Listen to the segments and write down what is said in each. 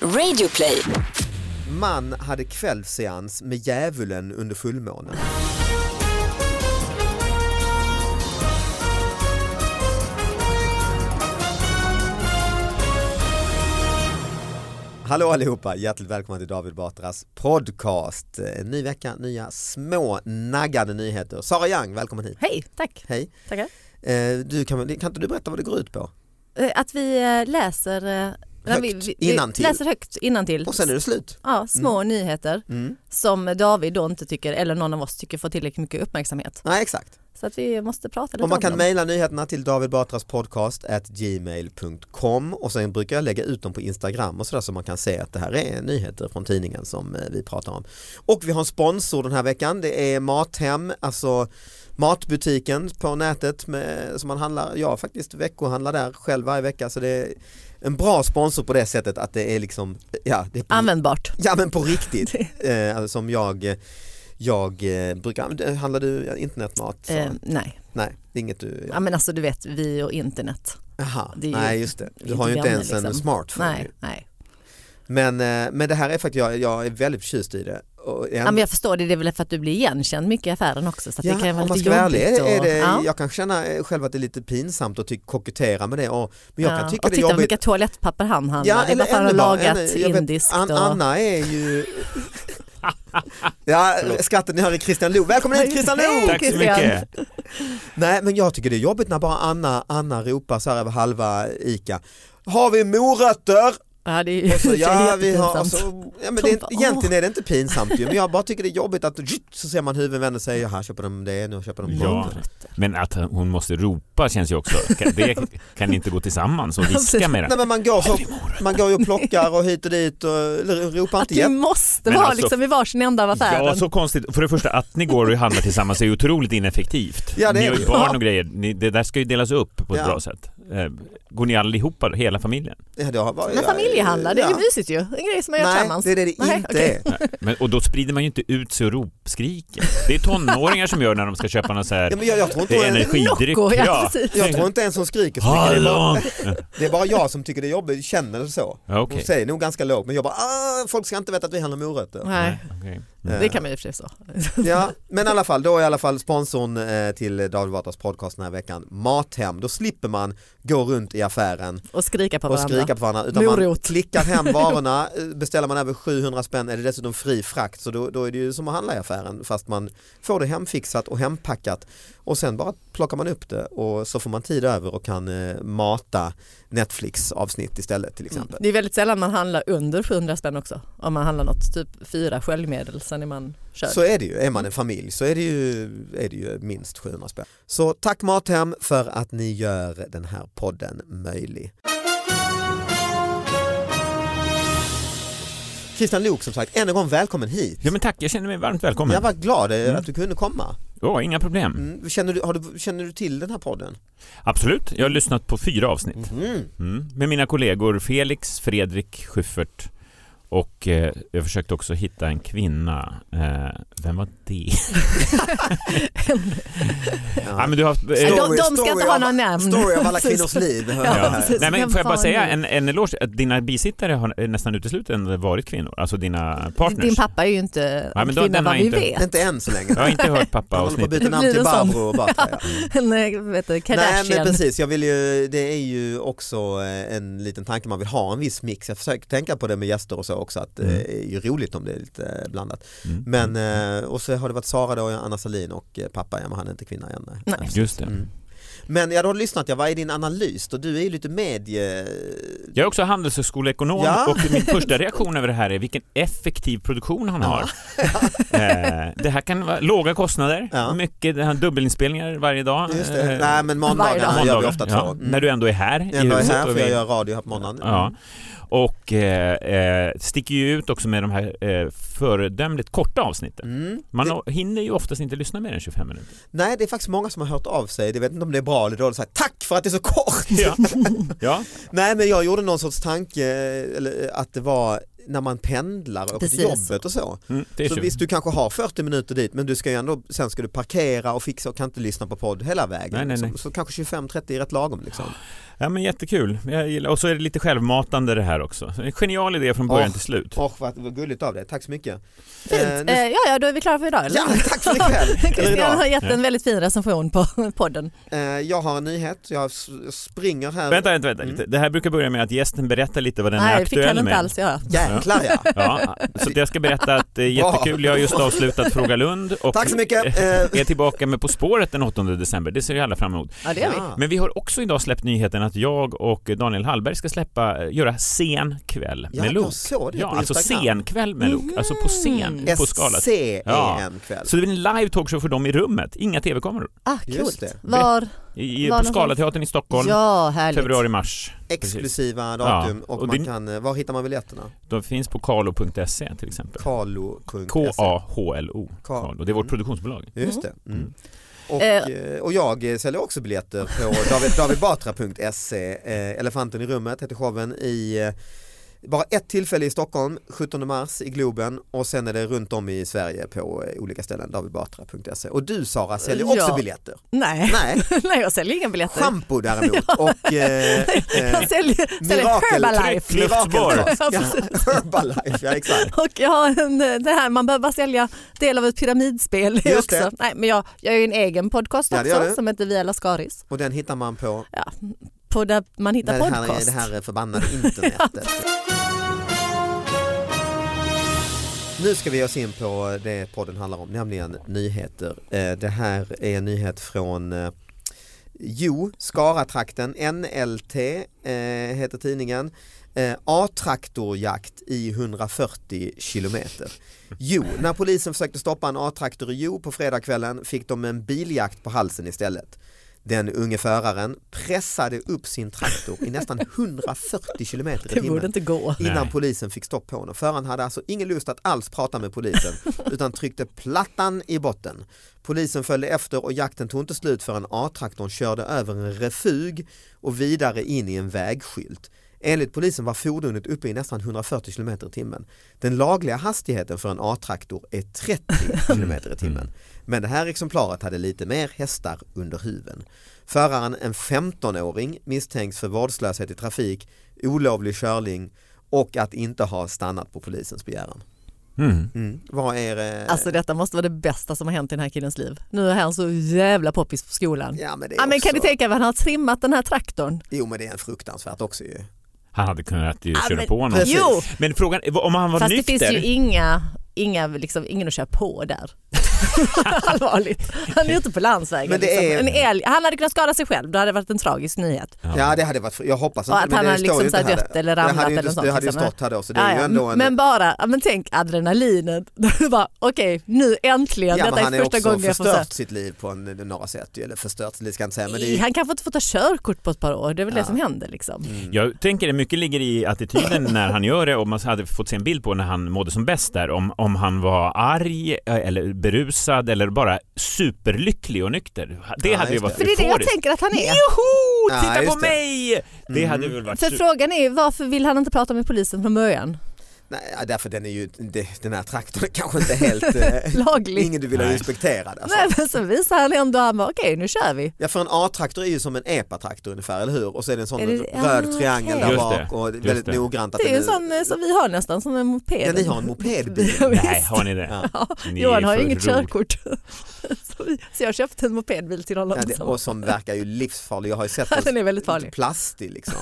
Radioplay. Man hade kvällsseans med djävulen under fullmånen. Hallå allihopa, hjärtligt välkomna till David Batras podcast. En ny vecka, nya små naggade nyheter. Sara Young, välkommen hit. Hej, tack. Hej. Tackar. Eh, Du, kan, kan inte du berätta vad det går ut på? Eh, Att vi eh, läser, eh, nej, vi, Högt vi, innantill. vi läser högt innantill. Och sen är det slut. Ja, små nyheter Mm. som David då inte tycker, eller någon av oss tycker får tillräckligt mycket uppmärksamhet. Nej, exakt. Så att vi måste prata lite Och man om kan dem. mejla nyheterna till davidbatraspodcast.gmail.com och sen brukar jag lägga ut dem på Instagram och sådär så man kan se att det här är nyheter från tidningen som eh, vi pratar om. Och vi har en sponsor den här veckan, det är Mathem, alltså matbutiken på nätet med, som man handlar, jag faktiskt veckohandlar där själv varje vecka så det är en bra sponsor på det sättet att det är liksom, ja det är på, Användbart. ja, men på riktigt. eh, alltså som jag, eh, jag eh, brukar, använda- handlar du internetmat? Sara? Eh, nej, Nej, det är inget du... ja, men alltså du vet vi och internet. Jaha, Det är ju nej just det. Du inte har ju inte gamla, ens en liksom. smartphone. Nej, ju. nej. Men, eh, men det här är faktiskt, jag, jag är väldigt förtjust i det. Och en- Ja, men jag förstår det, det är väl för att du blir igenkänd mycket i affären också. Så att det kan vara om man lite ska vara ärlig, jobbigt. är, är och- det, ja. jag kan känna eh, själv att det är lite pinsamt att ty- kokettera med det. Och, men jag kan Ja, tycka och det är titta hur jobbigt. mycket toalettpapper han handlar. det är bara för att han har ännu bara- lagat ännu- jag vet, indiskt. An- och... Anna är ju... ja, skratten ni hör är Christian Lok. Välkommen hit Christian Lok! Tack så Christian. mycket. Nej men jag tycker det är jobbigt när bara Anna, Anna ropar så här över halva ICA. Har vi morötter? Ja, det är ju Och så, ja, vi har, och jättepinsamt. så, ja, men det är, inte- Tompa, åh. egentligen är det inte pinsamt ju, men jag bara tycker det är jobbigt att så ser man huvuden vända sig, här köper de det, nu köper de Ja. det. Men att hon måste ropa känns ju också, kan- det kan inte gå tillsammans och viska med Nej, det. men man, går så, man går ju och plockar och hit och dit och eller ropar Att inte vi igen. måste Men vara alltså- liksom i varsin ända av affären. Ja, så konstigt. För det första, att ni går och handlar tillsammans är ju otroligt ineffektivt. Ja, det ni är har det. ju barn och grejer. Ni, det där ska ju delas upp på ett Ja. bra sätt. Eh, Går ni allihopa, hela familjen? Ja, det har varit- Men familjehandlar, det är ju ja. mysigt ju. En grej som man gör Nej, tillsammans. det är det det Nej, inte okej. är. Men, och då sprider man ju inte ut sig och ropskriker. Det är tonåringar som gör när de ska köpa någon så här Ja, men jag, jag, tror inte, eh, energidryck. Nocco, ja, precis. jag tror inte ens hon skriker så mycket. Det är, bara, Hallå! det är bara jag som tycker det är jobbigt, känner det så. Ja, Hon okej. säger nog ganska lågt, men jag bara, "Ah, folk ska inte veta att vi handlar morötter. Nej, Okej. det kan man ju i och för sig så. Ja, men i alla fall, då är i alla fall sponsorn eh, till David Batras podcast den här veckan Mathem. Då slipper man gå runt i affären Och skrika på och varandra. skrika på varandra utan man Morot. klickar hem varorna. Eh, Beställer man över 700 spänn är det dessutom fri frakt så då, då är det ju som att handla i affären fast man får det hemfixat och hempackat och sen bara plockar man upp det och så får man tid över och kan eh, mata Netflix avsnitt istället till exempel. Mm. Det är väldigt sällan man handlar under 700 spänn också. Om man handlar något, typ fyra sköljmedel, sen är man körd. Så är det ju, är Mm. man en familj så är det ju, är det ju minst 700 spänn. Så tack Mathem för att ni gör den här podden möjlig. Christian Lok som sagt, än en gång välkommen hit. Ja men tack, jag känner mig varmt Jag välkommen. var glad eh, Mm. att du kunde komma. Ja, inga problem. Mm. Känner, du, har du, känner du till den här podden? Absolut, jag har lyssnat på fyra avsnitt. Mm. Mm. Med mina kollegor Felix, Fredrik, Schyffert och eh, jag försökte också hitta en kvinna. Eh, vem var det? Ah, Ja. men du har haft, eh, de- de ska inte ha av- några namn. Story av alla Precis. kvinnors liv. hör Ja, jag här. precis. Nej, men Vem får jag bara fan säga är- en, en eloge, att dina bisittare har eh, nästan uteslutande varit kvinnor, alltså dina partners. Din pappa är ju inte men en då- kvinna den har vad vi inte- vet. Inte än så länge. Jag har inte hört pappa Han håller på att avsnitt. byta namn Det till blir en sån. Barbro och Batra. ja. En eh, vet du, Nej men Kardashian. precis, jag vill ju, det är ju också eh, en liten tanke, man vill ha en viss mix. Jag försöker tänka på det med gäster och så också, att Mm. det är ju roligt om det är lite eh, blandat. Mm. Men, eh, och så har det varit Sara då, Anna Salin och eh, pappa, ja, men han är inte kvinna än. nej. Nej. Just det. Mm. Men jag har lyssnat, ja, vad är din analys då? Du är ju lite medie... Jag är också handelshögskoleekonom Ja. och min första reaktion över det här är vilken effektiv produktion han har. Eh, det här kan vara låga kostnader, Ja. mycket det här, dubbelinspelningar varje dag. Just det. Eh, Nej men varje måndagarna dag. gör vi måndagar, ofta två. ja, Mm. När du ändå är här. i Ändå är huset här och för jag vi- gör Mm. radio här på morgonen. Ja. Och eh, eh, sticker ju ut också med de här eh, föredömligt korta avsnitten. Mm. Man Det- har- hinner ju oftast inte lyssna mer än 25 minuter. Nej det är faktiskt många som har hört av sig, jag vet inte om det är bra eller dåligt, så här, tack för att det är så kort! Ja. ja. Nej men jag gjorde någon sorts tanke, eller, eh, att det var när man pendlar och Precis. till jobbet och så. Mm, det är Så 20. visst, du kanske har 40 minuter dit men du ska ju ändå, sen ska du parkera och fixa och kan inte lyssna på podd hela vägen. Nej, nej, Ah. nej. Så, så kanske 25-30 är rätt lagom liksom. Ja men jättekul. Jag gillar, och så är det lite självmatande det här också. Så En genial idé från början Åh. till slut. Och vad, vad gulligt av dig, tack så mycket. Fint. Eh, nu- Eh, ja, ja, då är vi klara för idag eller? ja, tack för ikväll! Eller Christian idag. har gett Ja. en väldigt fin recension på podden. Eh, jag har en nyhet, jag s- springer här. Vänta, vänta, vänta. Mm. lite. Det här brukar börja med att gästen berättar lite vad den är Nej, det fick han aktuell inte med. alls göra. Jäklar ja! Ja, så jag ska berätta att det är Bra. jättekul. Jag har just avslutat Fråga Lund och Tack så mycket! Eh, är tillbaka med På spåret den 8 december. Det ser vi alla fram emot. Ja, det gör vi. ja. Men vi har också idag släppt nyheten att jag och Daniel Hallberg ska släppa, eh, göra sen kväll Ja, med Luke. jag såg det Ja, på alltså Instagram. Mm-hmm. sen kväll med Luke, alltså på scen, på skalat. Ja. SCEN kväll. Så det blir en live talkshow för dem i rummet, inga tv-kameror. Ah, Just coolt. det. Var? I, i, Var på någonstans? Scalateatern i Stockholm, Ja, härligt. februari-mars. Exklusiva Ja, datum och, och man det- kan, eh, var hittar man biljetterna? De finns på kalo.se till exempel. Kalo.se K-A-H-L-O. Kalo. Det är vårt Mm. produktionsbolag. Just det. Mm. Mm. Och, Eh. eh, och jag eh, säljer också biljetter på David, davidbatra.se. Eh, Elefanten i rummet heter showen i eh, bara ett tillfälle i Stockholm, 17 mars i Globen och sen är det runt om i Sverige på eh, olika ställen, davidbatra.se. E. Och du Sara säljer också Ja. biljetter. Nej. Nej, Nej, jag säljer inga biljetter. shampoo däremot och eh, eh, jag säljer, säljer mirakel- Herbalife. tryck- Lyftbar. mirakeltorsk. Ja, Ja, precis. Herbalife, ja exakt. Och jag har en, eh, det här, man behöver bara sälja del av ett pyramidspel det. också. Nej, men jag, jag har ju en egen podcast Ja, det gör också du. som heter Via Lascaris. Och den hittar man på Ja, på där man hittar Nej, det, här, podcast. det här förbannade internetet. Nu ska vi ge oss in på det podden handlar om, nämligen nyheter. Eh, Det här är en nyhet från eh, Jo, Skaratrakten, NLT eh, heter tidningen. Eh, A-traktorjakt i 140 kilometer. Jo, när polisen försökte stoppa en A-traktor i Jo på fredagskvällen fick de en biljakt på halsen istället. Den unge föraren pressade upp sin traktor i nästan 140 kilometer i det borde timmen Eh. inte gå. innan Nej. polisen fick stopp på honom. Föraren hade alltså ingen lust att alls prata med polisen utan tryckte plattan i botten. Polisen följde efter och jakten tog inte slut förrän A-traktorn körde över en refug och vidare in i en vägskylt. Enligt polisen var fordonet uppe i nästan 140 km i timmen. Den lagliga hastigheten för en A-traktor är 30 km i timmen. Men det här exemplaret hade lite mer hästar under huven. Föraren, en 15-åring, misstänks för vårdslöshet i trafik, olovlig körning och att inte ha stannat på polisens begäran. Mm. Mm. Vad är det? Alltså detta måste vara det bästa som har hänt i den här killens liv. Nu är han så jävla poppis på skolan. ja, men det är Ja, men kan ni också... tänka er vad han har trimmat den här traktorn? Jo men det är en fruktansvärt också ju. Han hade kunnat ju Ja, köra men- på honom. Precis. Jo, Men frågan är om han var fast nykter. det finns ju inga, inga liksom, ingen att köra på där. Allvarligt, han är ute på landsvägen. Men det är- liksom. en älg. Han hade kunnat skada sig själv, då hade det varit en tragisk nyhet. Ja. det hade varit, jag hoppas Och inte. att han hade liksom så här här. dött eller Det ramlat hade ju eller inte, något sånt. det hade ju liksom. stått här då så det Ja, är ju ja. ändå en... Men bara, ja, men tänk adrenalinet. Du bara, Okej, nu äntligen, ja, men detta han är är första också gången jag får se. förstört sitt liv på en, några sätt ju, eller förstört, det ska jag inte säga men det är ju... Han kanske inte får ta körkort på ett par år, det är väl Ja. det som händer liksom. Jag tänker det mycket ligger i attityden när han gör det och man hade fått se en bild på när han mådde som bäst där om, om han var arg eh, eller berusad eller bara superlycklig och nykter. Det Ja, hade ju just varit För det är det jag tänker att han är. Joho! Ja, Titta just på det. mig! Det Mm. hade väl varit För su- frågan är ju varför vill han inte prata med polisen från början? Nej, ja, därför den är ju, det- den här traktorn är kanske inte helt... eh, Lagligt. ingen du vill ha Nej. inspekterad alltså. Nej men så visar han ändå, han bara okej nu kör vi. Ja för en A-traktor är ju som en EPA-traktor ungefär, eller hur? Och så är det en sån Är det- röd Ah, triangel okej. där Just bak det, och just väldigt det. noggrant att Det är ju en den sån eh, som vi har nästan, som en moped. Ja ni har en mopedbil. Ja, visst. Nej, har ni det? Ja, Ni Johan är har ju för inget roliga. körkort. så, vi, så jag köpte en mopedbil till honom. Ja, det, och som verkar ju livsfarlig, jag har ju sett den Den är väldigt farlig. plastig liksom.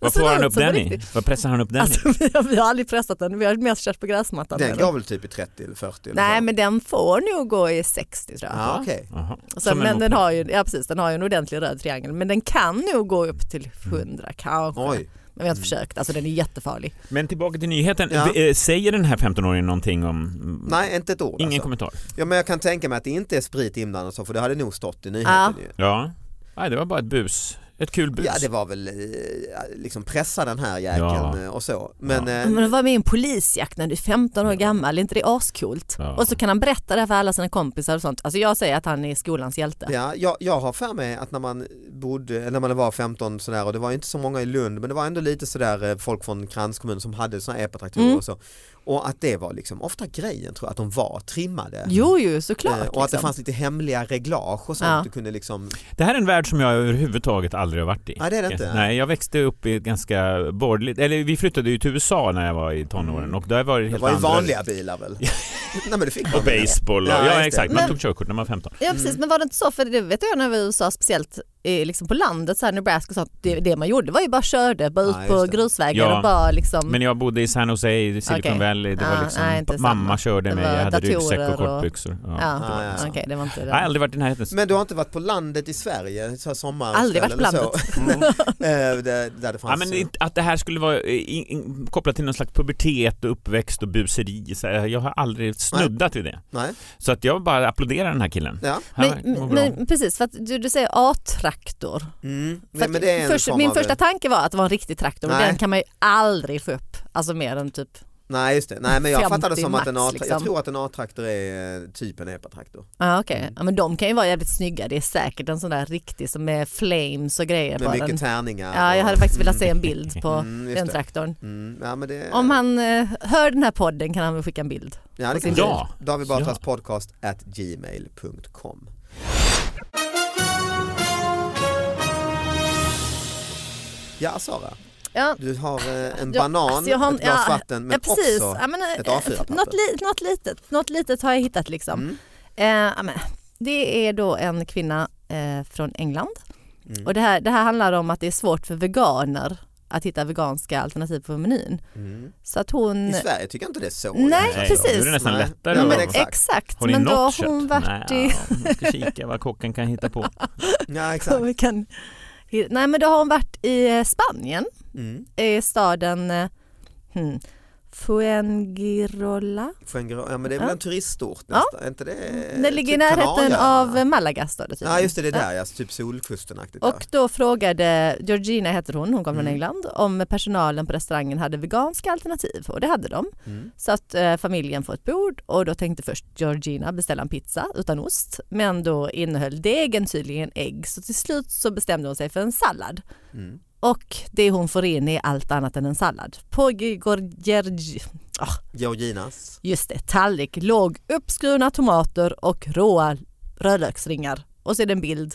Vad ser får han ut upp Alltså, som den på i? riktigt. Vad pressar han upp den i? Alltså, vi, har, vi har aldrig pressat den, vi har mest kört på gräsmattan. med Den den. går väl typ i 30 eller 40? Eller Nej liksom. så. men den får nog gå i 60 tror jag. Ja, okej. Jaha. Så, Som en men den moped. alltså, har, ju, ja, precis, den har ju en ordentlig röd triangel men den kan nog gå upp till 100 Mm. kanske. Oj. Men vi har inte försökt, alltså den är jättefarlig. Men tillbaka till nyheten. Ja. V- eh, Säger den här 15-åringen någonting om... Nej, inte ett ord Ingen alltså. kommentar. ja, men Jag kan tänka mig att det inte är sprit inblandat så, för det hade nog stått i nyheten. Ja. Nej, det var bara ett bus. Ett kul bus. Ja det var väl eh, liksom pressa den här jäkeln Ja. eh, och så. Men, eh, Men du var med i en polisjakt när du är 15 år gammal, är inte det ascoolt? Ja. Och så kan han berätta det här för alla sina kompisar och sånt. Alltså jag säger att han är skolans hjälte. Ja, jag, jag har för mig att när man bodde, eller när man var 15 sådär och det var inte så många i Lund men det var ändå lite sådär eh, folk från kranskommunen som hade sådana epatraktorer Mm. och så. Och att det var liksom ofta grejen tror jag, att de var trimmade. Jo, jo, Eh, såklart. och att det liksom. fanns lite hemliga reglage och sånt. Ja. Du kunde liksom, Det här är en värld som jag överhuvudtaget aldrig har varit i. nej det är det inte. Nej, jag växte upp i ett ganska borgerligt, eller vi flyttade ju till USA när jag var i tonåren och där var det Mm. Det helt var ju andra... vanliga bilar väl? nej men det fick man Och väl. baseball och, Ja, ja, just det. exakt, man Men- tog körkort när man var 15. Ja precis, Mm. men var det inte så, för det vet jag när jag var i USA, speciellt eh, liksom på landet, så här Nebraska och sånt, det, det man gjorde var ju bara körde, bara ut Ja, på just det. grusvägar Ja, och bara Mm. liksom, Men jag bodde i San Jose, i Silicon Okej. Valley, det Ja, Ah, var liksom, nej, inte mamma samma. körde Det mig, var jag hade datorer ryggsäck och och- kortbyxor. Ja. ja, det var Ja, ja, ja. okej det var inte det. Nej, aldrig varit i närheten. Men du har inte varit på landet i Sverige? Så här sommar, Aldrig varit på Mm. där, där Mm. Eh, det fanns, Ja, men det är inte- att det här skulle vara eh, in, in, kopplat till någon slags pubertet och uppväxt och buseri. Så här, jag har aldrig snuddat vid det. Nej. Så att jag bara applåderar den här killen. Ja. Han Men, verkar må bra. men precis, för att du, du säger A-traktor. Mm. För Nej, att men det är en först, form min av- första tanke var att det var en riktig traktor, men Nej. den kan man ju aldrig få upp, alltså mer än typ, Nej just det, nej men jag 50 fattade som att en max, A-traktor, jag liksom. tror att en A-traktor är eh, typ en epatraktor. ja Ah, okej, ja, men de kan ju vara jävligt snygga, det är säkert en sån där riktig som är flames och grejer Med på mycket den. tärningar. Ja, jag och- hade faktiskt velat se Mm. en bild på Mm, just den det. traktorn. Mm, ja, men det, Om han eh, hör den här podden kan han väl skicka en bild. ja, det på kan sin bil. ja. David Batras Ja. podcast at gmail.com. Ja Sara, Ja. du har eh, en Ja, banan, alltså jag har en- ett glas ja, vatten men ja, precis. också ja, men, eh, ett A4-papper. något, li- något, litet, något litet har jag hittat liksom. Mm, Eh, ja, men, det är då en kvinna eh, från England mm, och det här, det här handlar om att det är svårt för veganer att hitta veganska alternativ på menyn. mm. Så att hon... I Sverige tycker jag inte det är så. Nej, Alltså, precis. Nu är det nästan Nej. lättare. Ja, men att- exakt. Har ni men då något har kött? hon varit Nej, i... ja, man ska kika vad kocken kan hitta på. Ja, exakt. Vi kan, nej men då har hon varit i eh, Spanien Mm. i staden eh, hmm, Fuengirola. Fuengirola, ja men det är väl Ja. en turistort Ja. nästan, är inte det? Den ligger i typ närheten Kanarieöarna? av eh, Malaga står det Ja tydligen. just det, det är där ja, typ solkustenaktigt. ja. Och då frågade Georgina, heter hon, hon kom från Mm. England, om personalen på restaurangen hade veganska alternativ och det hade de. Mm. Så att eh, familjen får ett bord och då tänkte först Georgina beställa en pizza utan ost men då innehöll degen tydligen ägg så till slut så bestämde hon sig för en sallad. Mm. Och det hon får in är allt annat än en sallad. På Georgi... Georginas. Just det, tallrik, låg uppskurna tomater och råa rödlöksringar. Och så är det en bild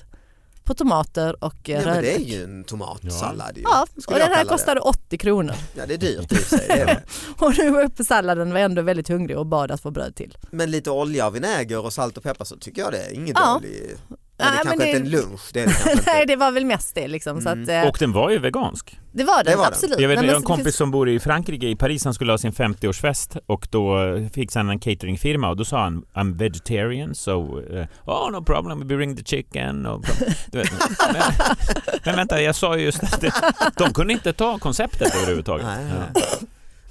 på tomater och eh, Ja, men det är rödlök. ju en tomatsallad ju. Ja, och skulle jag den här kalla det. kostade 80 kronor. Ja det är dyrt i och för sig. det är det. Och nu var jag uppe på salladen var ändå väldigt hungrig och bad att få bröd till. Men lite olja och vinäger och salt och peppar så tycker jag det är ingen Ja. dålig. Men det Nej, är men kanske det- inte en lunch. Det är det kanske Nej, inte. det var väl mest det liksom. Så att, eh, Och den var ju vegansk. det var den, Mm. det var den. absolut. Jag vet, Nej, jag har men en så kompis det finns- som bor i Frankrike, i Paris, han skulle ha sin 50-årsfest och då fick han en cateringfirma och då sa han I'm vegetarian so eh, oh no problem, we bring the chicken. Och, du vet, men, men vänta, jag sa ju just att det, de kunde inte ta konceptet överhuvudtaget. Nej. Ja.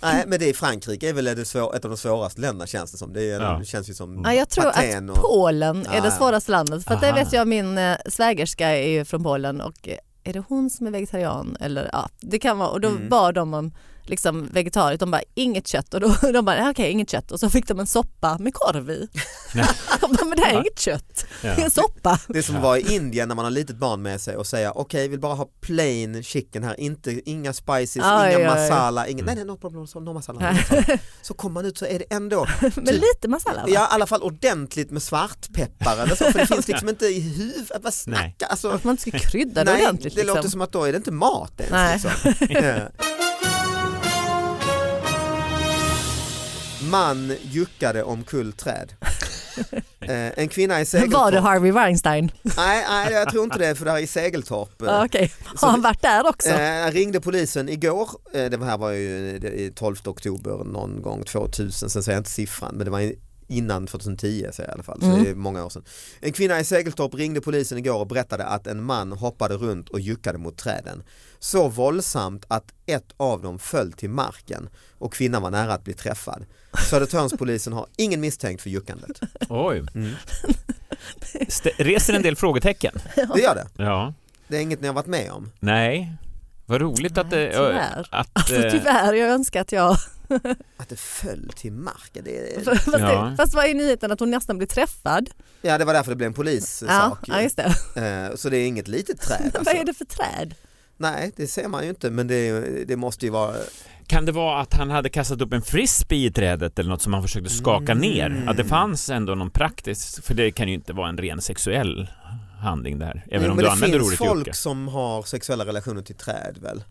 Nej men det är Frankrike är väl det svår, ett av de svåraste länderna känns det som. Det, är, Ja. det känns ju som Ja, jag tror Patén att och- Polen är Ja, det ja. svåraste landet. För att det Aha. vet jag, min eh, svägerska är ju från Polen och eh, är det hon som är vegetarian? Eller, ja, det kan vara, och då Mm. bad de om liksom, vegetariskt, de bara inget kött och då, de bara okej inget kött och så fick de en soppa med korv i. Nej. De bara, men det här är Va? inget kött, Ja. det är en soppa. det är som var i Indien när man har litet barn med sig och säga okej vill bara ha plain chicken här, inte, inga spices, Aj, inga aj, aj. masala, Mm. inga, nej nej no problem, so- no masala. no masala. Så kommer man ut så är det ändå Men lite masala va? Typ. Ja i alla fall ordentligt med svartpeppar eller så för det finns liksom inte i huvudet, vad Nej. snacka alltså. Att man inte ska krydda det Nej, ordentligt. det liksom. låter som att då är det inte mat ens. Nej. Liksom. Ja. Man juckade omkull träd. Eh, En kvinna i Segeltorp. Var det Harvey Weinstein? Nej, nej, jag tror inte det för det här är i Segeltorp. Ja, Okej, har han varit där också? Eh, jag ringde polisen igår, eh, det här var ju eh, det- i 12 oktober någon gång 2000, sen säger jag inte siffran men det var i- innan 2010 säger jag i alla fall, så Mm. det är många år sedan. En kvinna i Segeltorp ringde polisen igår och berättade att en man hoppade runt och juckade mot träden. Så våldsamt att ett av dem föll till marken och kvinnan var nära att bli träffad. Södertörnspolisen har ingen misstänkt för juckandet. Oj. Mm. St- reser en del frågetecken. Det gör det. Ja. Det är inget ni har varit med om? Nej, vad roligt att Nej, det... tyvärr. Att, Alltså, eh, tyvärr, jag önskar att jag... Att det föll till marken? Det... Fast, Ja. det, fast vad är nyheten att hon nästan blir träffad? Ja det var därför det blev en polissak. ja, ju. just det. Eh, Så det är inget litet träd. Alltså. Vad är det för träd? Nej det ser man ju inte men det, är ju- det måste ju vara Kan det vara att han hade kastat upp en frisbee i trädet eller något som han försökte skaka Mm. ner? Att det fanns ändå någon praktisk, för det kan ju inte vara en ren sexuell handling där. Även Jo, men om du det använder finns ordet folk Jocke. som har sexuella relationer till träd väl?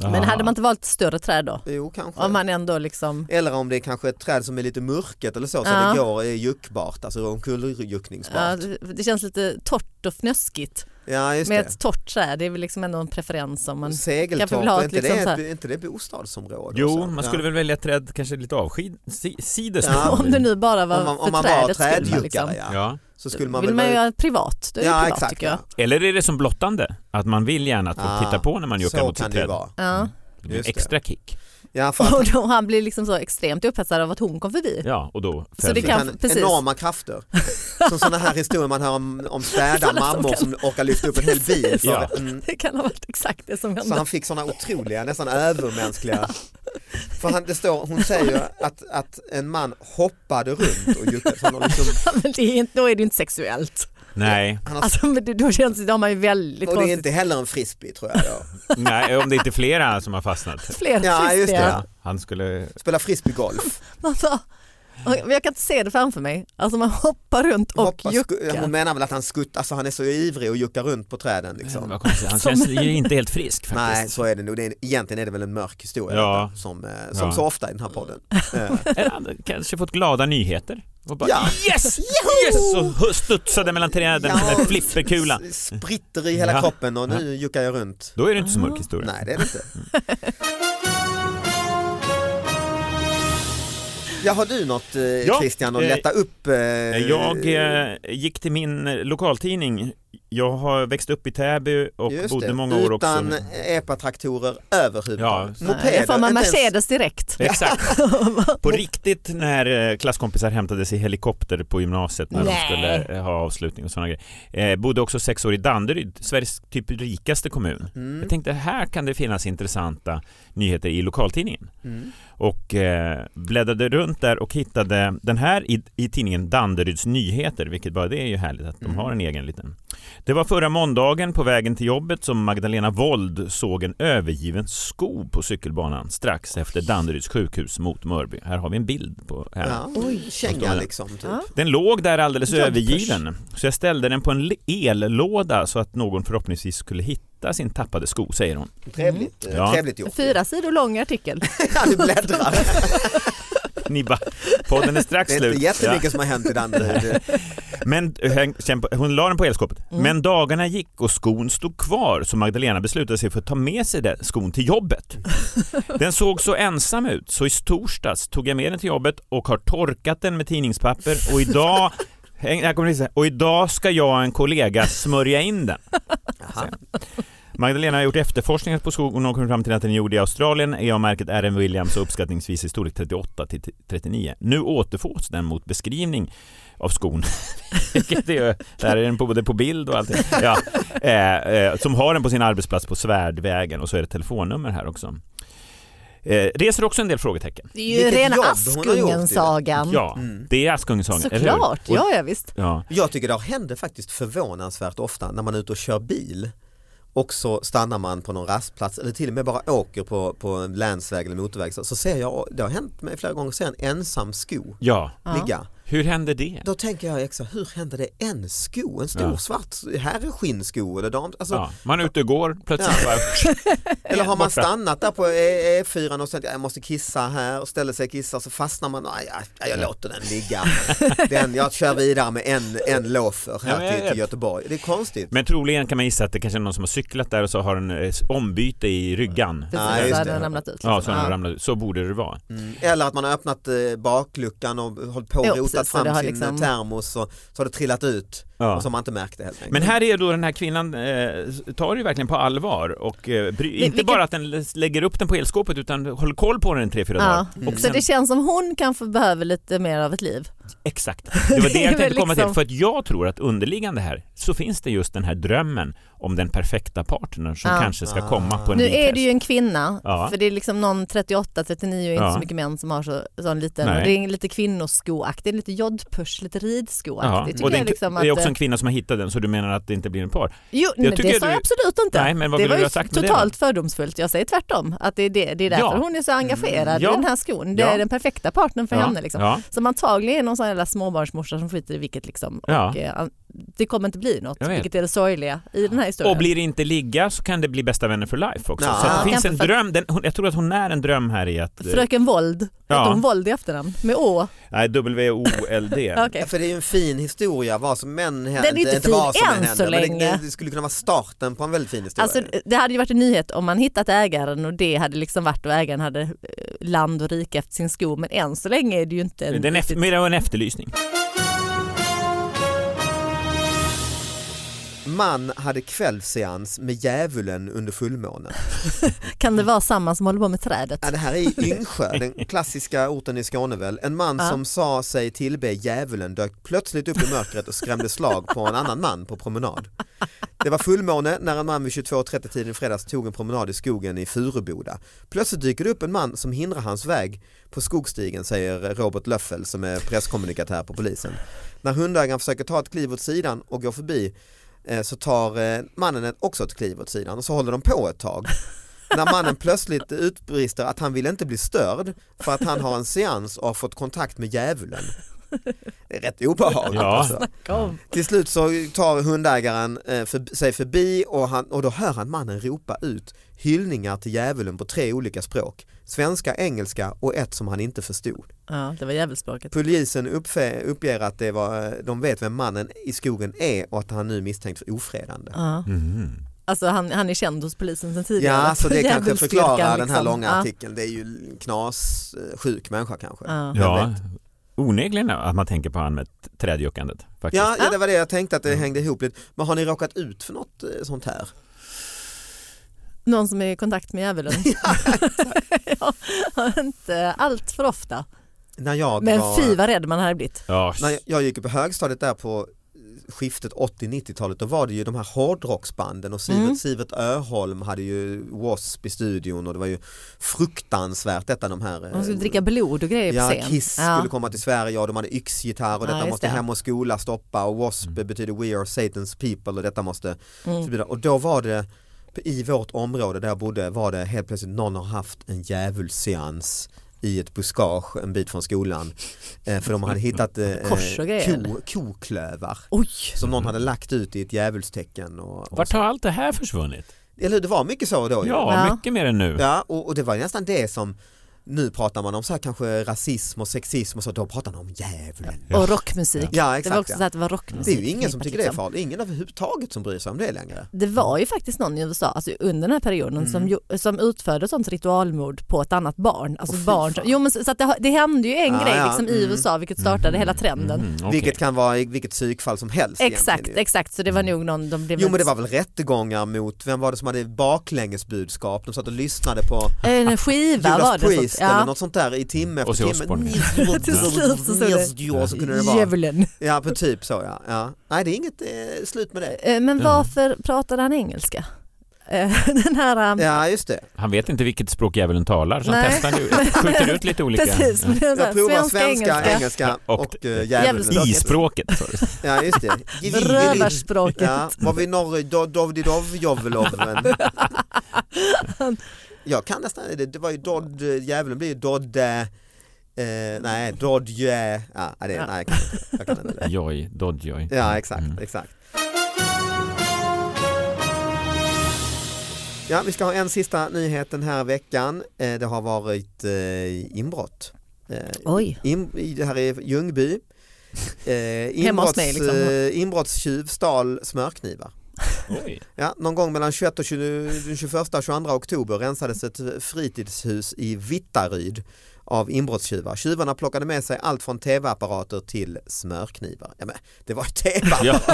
Men Ah. hade man inte valt större träd då? Jo kanske. Om man ändå liksom... Eller om det är kanske ett träd som är lite mörket eller så, så Ja. det går är juckbart, alltså Ja, omkulljuckningsbart. Ja, det det känns lite torrt och fnöskigt. just Med det. ett torrt träd, det är väl liksom ändå en preferens om man... Segeltorp, kanske vill ha är ett inte, liksom det, så ett- här- är inte det bostadsområde? och Jo, så? man skulle väl välja ett träd kanske lite avsides. Ja. från Om det nu bara var om man, för om man var trädets skull. trädjuckare liksom. ja. Ja. så skulle man vill väl man ju vara- göra privat, då är det Ja privat exakt. tycker jag. Eller är det som blottande? Att man vill gärna att folk Ah, tittar på när man ja. juckar Så mot sitt kan det ju träd. vara. Ja. Det blir Just extra kick. Ja, för att, Och då han blir liksom så extremt upphetsad av att hon kom förbi. Ja, och då Så föll det det kan- kan precis. enorma krafter. Som sådana här historier man hör om, om städa Sådana som mammor kan- som orkar lyfta upp en hel bil. För, Ja. mm, Det kan ha varit exakt det som Så hände. han fick sådana otroliga, nästan övermänskliga. För han, det står, hon säger ju att, att en man hoppade runt och juckade. Så han har liksom, Men det är inte, då är det ju inte sexuellt. Nej, han har, Alltså, men det, då känns det, då har man ju väldigt Alltså- och det är konstigt. inte heller en frisbee tror jag. då. nej, om det inte är flera som har fastnat. Fler Ja just fristiga. det, Han skulle... spela frisbeegolf. Man bara, Alltså, och jag kan inte se det framför mig. Alltså man hoppar runt och Hoppa, sku- juckar. hon menar väl att han skuttar, alltså han är så ivrig och juckar runt på träden. Liksom. Mm, Vad konstigt, Han Som- känns ju inte helt frisk Nej faktiskt. så är det nog, det är, egentligen är det väl en mörk historia Ja. detta, som, eh, som Ja. så ofta i den här podden. Eh, Eller han kanske fått glada nyheter. Och bara, Ja. Yes! Yes! Och hu- studsade mellan träden Ja. med flipperkulan. s- Spritter i hela Ja. kroppen och nu juckar jag runt. Då är det inte så mörk historia. Nej det är det inte. Ja, har du något eh, Christian att eh, lätta upp? Eh, Jag eh, gick till min eh, lokaltidning. Jag har växt upp i Täby och just bodde det, många år Utan också. epatraktorer överhuvudtaget. Ja. Nej, Då får man inte ens- Mercedes direkt. Exakt. På riktigt när eh, klasskompisar hämtades i helikopter på gymnasiet när Nej. de skulle eh, ha avslutning och sådana grejer. Eh, bodde också sex år i Danderyd, Sveriges typ rikaste kommun. Mm, Jag tänkte här kan det finnas intressanta nyheter i lokaltidningen. mm. och eh, bläddrade runt där och hittade den här i, i tidningen Danderyds Nyheter, vilket bara det är ju härligt att de Mm. har en egen liten. Det var förra måndagen på vägen till jobbet som Magdalena Wold såg en övergiven sko på cykelbanan strax efter Danderyds sjukhus mot Mörby. Här har vi en bild på henne. Ja. Oj. Känga liksom. Typ. Ja. Den låg där alldeles Jumpers. övergiven, så jag ställde den på en l- ellåda så att någon förhoppningsvis skulle hitta sin tappade sko, säger hon. Trevligt, eh, Mm. Ja. trevligt gjort. Fyra sidor lång artikel. Ja, du bläddrar. Ni bara, podden är strax Det är slut. inte Ja. jättemycket som har hänt i Danderyd. Men hon, sen på- hon la den på elskåpet. Men dagarna gick och skon stod kvar så Magdalena beslutade sig för att ta med sig den skon till jobbet. Den såg så ensam ut så i torsdags tog jag med den till jobbet och har torkat den med tidningspapper och idag Häng- här kommer det sista. och idag ska jag och en kollega smörja in den. Jaha. Magdalena har gjort efterforskningar på skogen och kommit fram till att den är gjord i Australien. EA-märket RM Williams och uppskattningsvis i storlek 38 till 39. Nu återfås den mot beskrivning av skon. Vilket är, ju- där är den på, både på bild och allting. Ja, eh, eh, som har den på sin arbetsplats på Svärdvägen och så är det telefonnummer här också. Eh, reser också en del frågetecken. Det är ju Vilket rena jobb hon har gjort i det. Askungen-sagan. Ja, Mm. det är Askungen-sagan, eller hur? Såklart, Och- ja, ja visst. ja. Jag tycker det händer faktiskt förvånansvärt ofta när man är ute och kör bil och så stannar man på någon rastplats eller till och med bara åker på, på en länsväg eller motorväg så, så ser jag, det har hänt mig flera gånger, ser en ensam sko Ja, Ja. ligga. hur hände det? Då tänker jag extra, hur hände det en sko? En stor Ja. svart herrskinnsko eller dam? Alltså, Ja, man är ute och går, plötsligt bara... Eller har man Borta. stannat där på E- E4 och sagt jag måste kissa här och ställer sig och kissar så fastnar man, nej jag, jag låter den ligga. Den, jag kör vidare med en, en loafer Ja, men här jag till, vet. till Göteborg. Det är konstigt. Men troligen kan man gissa att det kanske är någon som har cyklat där och så har en eh, ombyte i ryggan. Precis, Ja, just så det. hade den ramlat ut. Ja, så, liksom. den ramlade. så borde det vara. Mm. Eller att man har öppnat eh, bakluckan och hållit på och Jo, rotat precis, så fram det har sin liksom- termos och så har det trillat ut. Ja. och som man inte märkte helt enkelt. Men här är då den här kvinnan, eh, tar det ju verkligen på allvar och eh, bry, inte vilken- bara att den lä- lägger upp den på elskåpet utan håller koll på den i tre, fyra dagar. Ja. Mm. Och Så sen, det känns som hon kanske behöver lite mer av ett liv. Exakt, det var det Det är jag väl tänkte komma liksom- till. För att jag tror att underliggande här så finns det just den här drömmen om den perfekta partnern som Ja. kanske ska Ah. komma på en Nu är vinkfest. det ju en kvinna, Ja. för det är liksom någon 38-39 är inte Ja. så mycket män som har så, sån liten, Nej. det är en lite kvinnoskoaktig, lite jodpush, lite ridskoaktig. och Tycker det, jag är, liksom det är att, eh, också en kvinna som har hittat den så du menar att det inte blir en par? jo, men det sa tycker jag du- absolut inte. Nej, men vad det vill var du ju ha sagt med det då? totalt fördomsfullt, jag säger tvärtom. Att det, är det, det är därför Ja. Mm, hon är så engagerad Ja. i den här skon. Det Ja. är den perfekta partnern för ja. henne. Liksom. Ja. Som antagligen är någon sån jävla småbarnsmorsa som skiter i vilket liksom. Ja. Och, eh, det kommer inte bli något, Jag vet. vilket är det sorgliga i den här historien. Och blir det inte ligga så kan det bli bästa vänner for life också. Ja. Så att Ja, det finns kanske en för- dröm, den, hon, jag tror att hon är en dröm här i att... eh, Fröken Vold, Ja. hette hon Vold i efternamn? Med Å? Nej, W-O-L-D. Okej. Ja, För det är ju en fin historia, vad som än hände, Den är inte vad fin som än hände, så men länge. Det, det skulle kunna vara starten på en väldigt fin historia. Alltså, det hade ju varit en nyhet om man hittat ägaren och det hade liksom varit och ägaren hade eh, land och rike efter sin sko men än så länge är det ju inte en... Det är en, efter, men det var en efterlysning. Man hade kvällsseans med djävulen under fullmånen. Kan det vara samma som håller på med trädet? Ja, det här är i Yngsjö, den klassiska orten i Skåne väl. En man Ja. som sa sig tillbe djävulen dök plötsligt upp i mörkret och skrämde slag på en annan man på promenad. Det var fullmåne när en man vid 22.30 tiden i fredags tog en promenad i skogen i Furuboda. Plötsligt dyker det upp en man som hindrar hans väg på skogsstigen säger Robert Löffel som är presskommunikatör på polisen. När hundägaren försöker ta ett kliv åt sidan och går förbi eh, så tar eh, mannen ett- också ett kliv åt sidan och så håller de på ett tag när mannen plötsligt utbrister att han vill inte bli störd för att han har en seans och har fått kontakt med djävulen. Det är rätt obehagligt Ja. alltså. Kom. Till slut så tar hundägaren eh, för, sig förbi och, han, och då hör han mannen ropa ut hyllningar till djävulen på tre olika språk. Svenska, engelska och ett som han inte förstod. Ja, det var djävulspråket. Polisen uppfe, uppger att det var, eh, de vet vem mannen i skogen är och att han nu är misstänkt för ofredande. Ja. Mm-hmm. Alltså han, han är känd hos polisen sedan tidigare. Ja, så det kanske Djävulsdyrkan, förklarar den här liksom. långa Ja. artikeln. Det är ju knas, eh, sjuk människa kanske. Ja. Jag Ja, vet. onekligen att man tänker på han med t- trädjuckandet. Faktiskt. Ja, ja, det var det jag tänkte att det hängde ihop lite. Men har ni råkat ut för något eh, sånt här? Någon som är i kontakt med djävulen. ja, inte allt för ofta. När jag, Men var, fy vad rädd man hade blivit. Ja, när jag- jag gick upp på högstadiet där på eh, skiftet 80-90-talet då var det ju de här hårdrocksbanden och Sivert, Mm. Sivert Öholm hade ju W.A.S.P i studion och det var ju fruktansvärt detta de här eh, De skulle dricka blod och grejer på Ja, scen. Kiss Ja. skulle komma till Sverige och de hade yxgitarr och Ja, detta just måste det. hem och skola stoppa och W.A.S.P Mm. betyder We Are Satan's People och detta måste Mm. förbjudas. Och då var det i vårt område där jag bodde var det helt plötsligt någon har haft en djävulsseans i ett buskage en bit från skolan. Eh, för de hade hittat eh, Kors och grejer, ko, koklövar Oj, som någon hade lagt ut i ett djävulstecken. Och, och Vart har allt det här försvunnit? Eller hur, det var mycket så då. ju. Ja, Ja. mycket mer än nu. Ja, och, och det var nästan det som nu pratar man om så här kanske rasism och sexism och så, då pratar man om djävulen. och rockmusik. Ja, Det var exakt. också ja. så att det var rockmusik. Det är ju ingen som förknippat, tycker det är liksom. farligt, ingen överhuvudtaget som bryr sig om det längre. Det var ju faktiskt någon i USA alltså under den här perioden som, Mm. ju- som utförde sånt ritualmord på ett annat barn. Alltså Åh, fy barn som, fan. jo, men så så att det, har- det hände ju en Ah, grej ja, liksom, i mm. USA vilket startade hela trenden. Mm, okej. Vilket kan vara i vilket psykfall som helst. Exakt, egentligen ju. Mm. exakt. Så det var nog någon, de blev Jo men det var väl rättegångar mot, vem var det som hade baklängesbudskap? De satt och lyssnade på Eh, En skiva var Judas det. Priest så- eller ja. något sånt där i timme Och så efter Osborne. timme. Till slut så stod det- Ja, så kunde det vara. Djävulen. Ja, på typ så ja. ja. Nej det är inget eh, slut med det. Eh, Men Ja. varför pratade han engelska? Eh, Den här... eh, Ja just det. Han vet inte vilket språk djävulen talar så han Nej. testar ju, skjuter ut lite olika. Precis, Ja. den här Jag provar svenska, svenska, engelska, engelska. Och- och, eh, djävulen. Djävulsspråket. I-språket. Ja just det. Rövarspråket. Ja, var vi norr, do, dovdidov, joveloven. Jag kan nästan det, det var ju dodd, djävulen blir ju dodd, eh, nej dodje, ja, det, nej jag kan inte, jag kan inte det. Joj, dodjoj. Ja exakt, Mm. exakt. Ja, vi ska ha en sista nyhet den här veckan. Eh, Det har varit eh, inbrott. Eh, Oj. in, i- det här är Ljungby. Eh, Hemma inbrotts, hos mig, liksom. eh, inbrottstjuv stal smörknivar. Oj. Ja, någon gång mellan 21 och 20, den 21 och 22 oktober rensades ett fritidshus i Vittaryd av inbrottstjuvar. Tjuvarna plockade med sig allt från tv-apparater till smörknivar. Ja, men, det var ju tv Ja.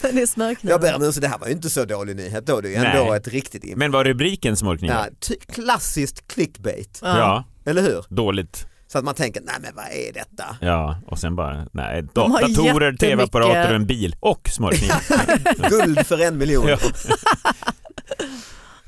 det är smörknivar. Jag ber om ursäkt, det här var ju inte så dålig nyhet då. Det är ju ändå Nej. ett riktigt inbrott. Men var rubriken smörknivar? Ja, ty- klassiskt clickbait, Ja. eller hur? dåligt. Så att man tänker, nej men vad är detta? Ja, och sen bara, nej, da- De har datorer, jättemycket- tv-apparater och en bil och smörknivar. Guld för en miljon. Ja.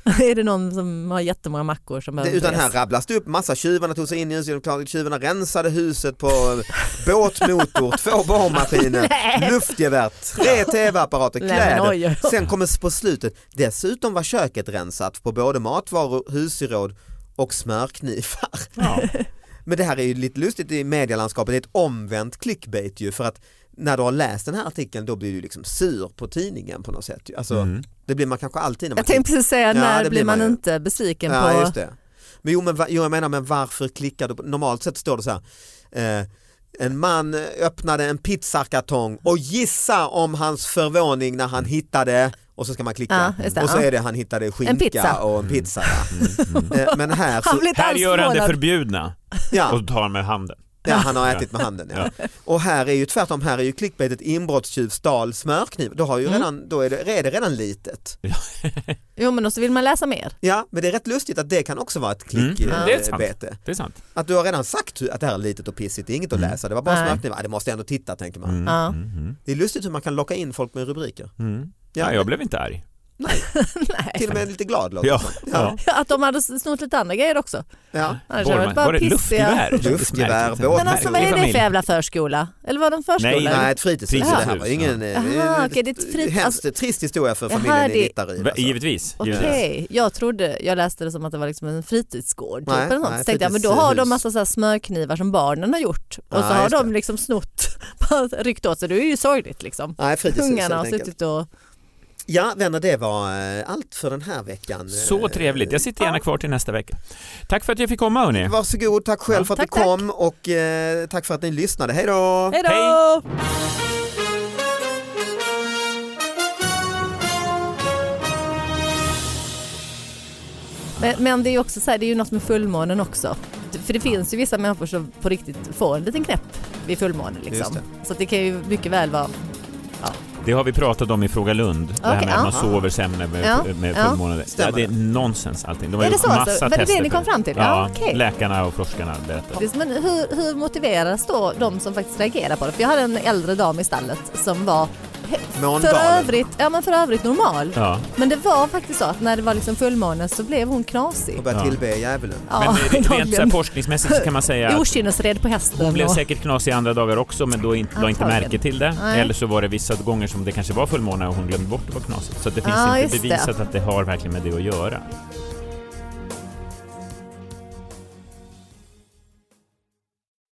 är det någon som har jättemånga mackor som Det, behöver utan dress? här rabblas det upp massa tjuvarna tog sig in i huset, klarade- tjuvarna rensade huset på båtmotor, två borrmaskiner, Nej. luftgevär, tre tv-apparater, Nej, men oj, kläder. oj, oj. Sen kommer på slutet, dessutom var köket rensat på både matvaror, husgeråd och smörknivar. Ja. Men det här är ju lite lustigt i medielandskapet, det är ett omvänt clickbait ju för att när du har läst den här artikeln då blir du liksom sur på tidningen på något sätt. ju. Alltså, Mm. Det blir man kanske alltid när man Jag tänkte precis säga, när det blir blir man, man ju. inte besviken Ja, just på... det. Men jo, men va- jo, jag menar, men varför klickar du? på- Normalt sett står det så här. Eh, en man öppnade en pizzakartong och gissa om hans förvåning när han hittade och så ska man klicka Ja, just det, och så ja. är det han hittade skinka pizza. och en pizza. Mm, Ja. Eh, Men här, Han så, blir inte Här alls gör han det förvånad. förbjudna ja, och tar med handen. ja, han har ätit med handen. Ja. Och här är ju tvärtom, här är ju clickbaitet inbrottstjuv stal smörkniv. Då, har ju Mm. redan, då är, det, är det redan litet. Jo men och så vill man läsa mer. Ja, men det är rätt lustigt att det kan också vara ett eh, Mm. klickbete. Det är sant. Det är sant. Att du har redan sagt hur- att det här är litet och pissigt, det är inget att Mm. läsa, det var bara Nej. smörknivar. Ah, Det måste jag ändå titta tänker man. Mm, Ja. mm, mm, Det är lustigt hur man kan locka in folk med rubriker. mm. Ja. Ja, jag blev inte arg. Nej. Till och med lite glad låter Ja. det som. Ja. Att de hade snott lite andra grejer också. Ja. Annars Borrma- hade det varit bara var det pissiga- luftgevär? Luftgevär, Märkligt. båt- Men alltså vad är det för jävla förskola? Eller var de förskola? Nej, Nej, ett fritidshus. Fritidshus, Det här var ju ingen... eh, Aha, eh, okej, det är ett fritid- hemskt alltså- trist historia för Jaha, familjen det- i Vittaryd. Va- alltså. Givetvis. Okej, givetvis. jag trodde, jag läste det som att det var liksom en fritidsgård typ Nej, eller något. nej, Så tänkte jag, men då har fritidshus. de massa så här smörknivar som barnen har gjort och så Ja, har just de det. liksom snott, bara ryckt åt sig. Det är ju sorgligt liksom. Nej, fritidshus Ungarna har helt enkelt. suttit och... Ja, vänner, det var eh, allt för den här veckan. Så Eh, trevligt. Jag sitter gärna kvar till nästa vecka. Tack för att jag fick komma hörni. Varsågod, tack själv Ja. för att Tack, du kom och eh, tack för att ni lyssnade. Hej då! Hej då! Hej! Men, men det är ju också så här, det är ju något med fullmånen också. För det finns ju vissa människor som på riktigt får en liten knäpp vid fullmånen Just liksom. det. Så att det kan ju mycket väl vara Det har vi pratat om i Fråga Lund. det här Okej, med att man ja. sover sämre med, Ja, med ja. fullmåne. Ja, Stämmer. det är nonsens allting. De har Är det gjort så alltså? massa Var det det tester ni för kom fram till? Ja, Ja, okej. läkarna och forskarna berättar. Precis, men hur, hur motiveras då de som faktiskt reagerar på det? För jag hade en äldre dam i stallet som var he- för Måndalen. övrigt, ja, men för övrigt normal. Ja. Men det var faktiskt så att när det var liksom fullmåne så blev hon knasig. Och börja Ja. tillbe djävulen. Ja, Men eh, rent så här dagligen. forskningsmässigt så kan man säga att Okynnesred på hästen. hon blev och- säkert knasig andra dagar också men då inte, la inte Antagligen. märke till det. Nej. Eller så var det vissa gånger som det kanske var fullmåne och hon glömde bort att vara knasigt. Så att det finns Ja, inte just det. bevisat att det har verkligen med det att göra.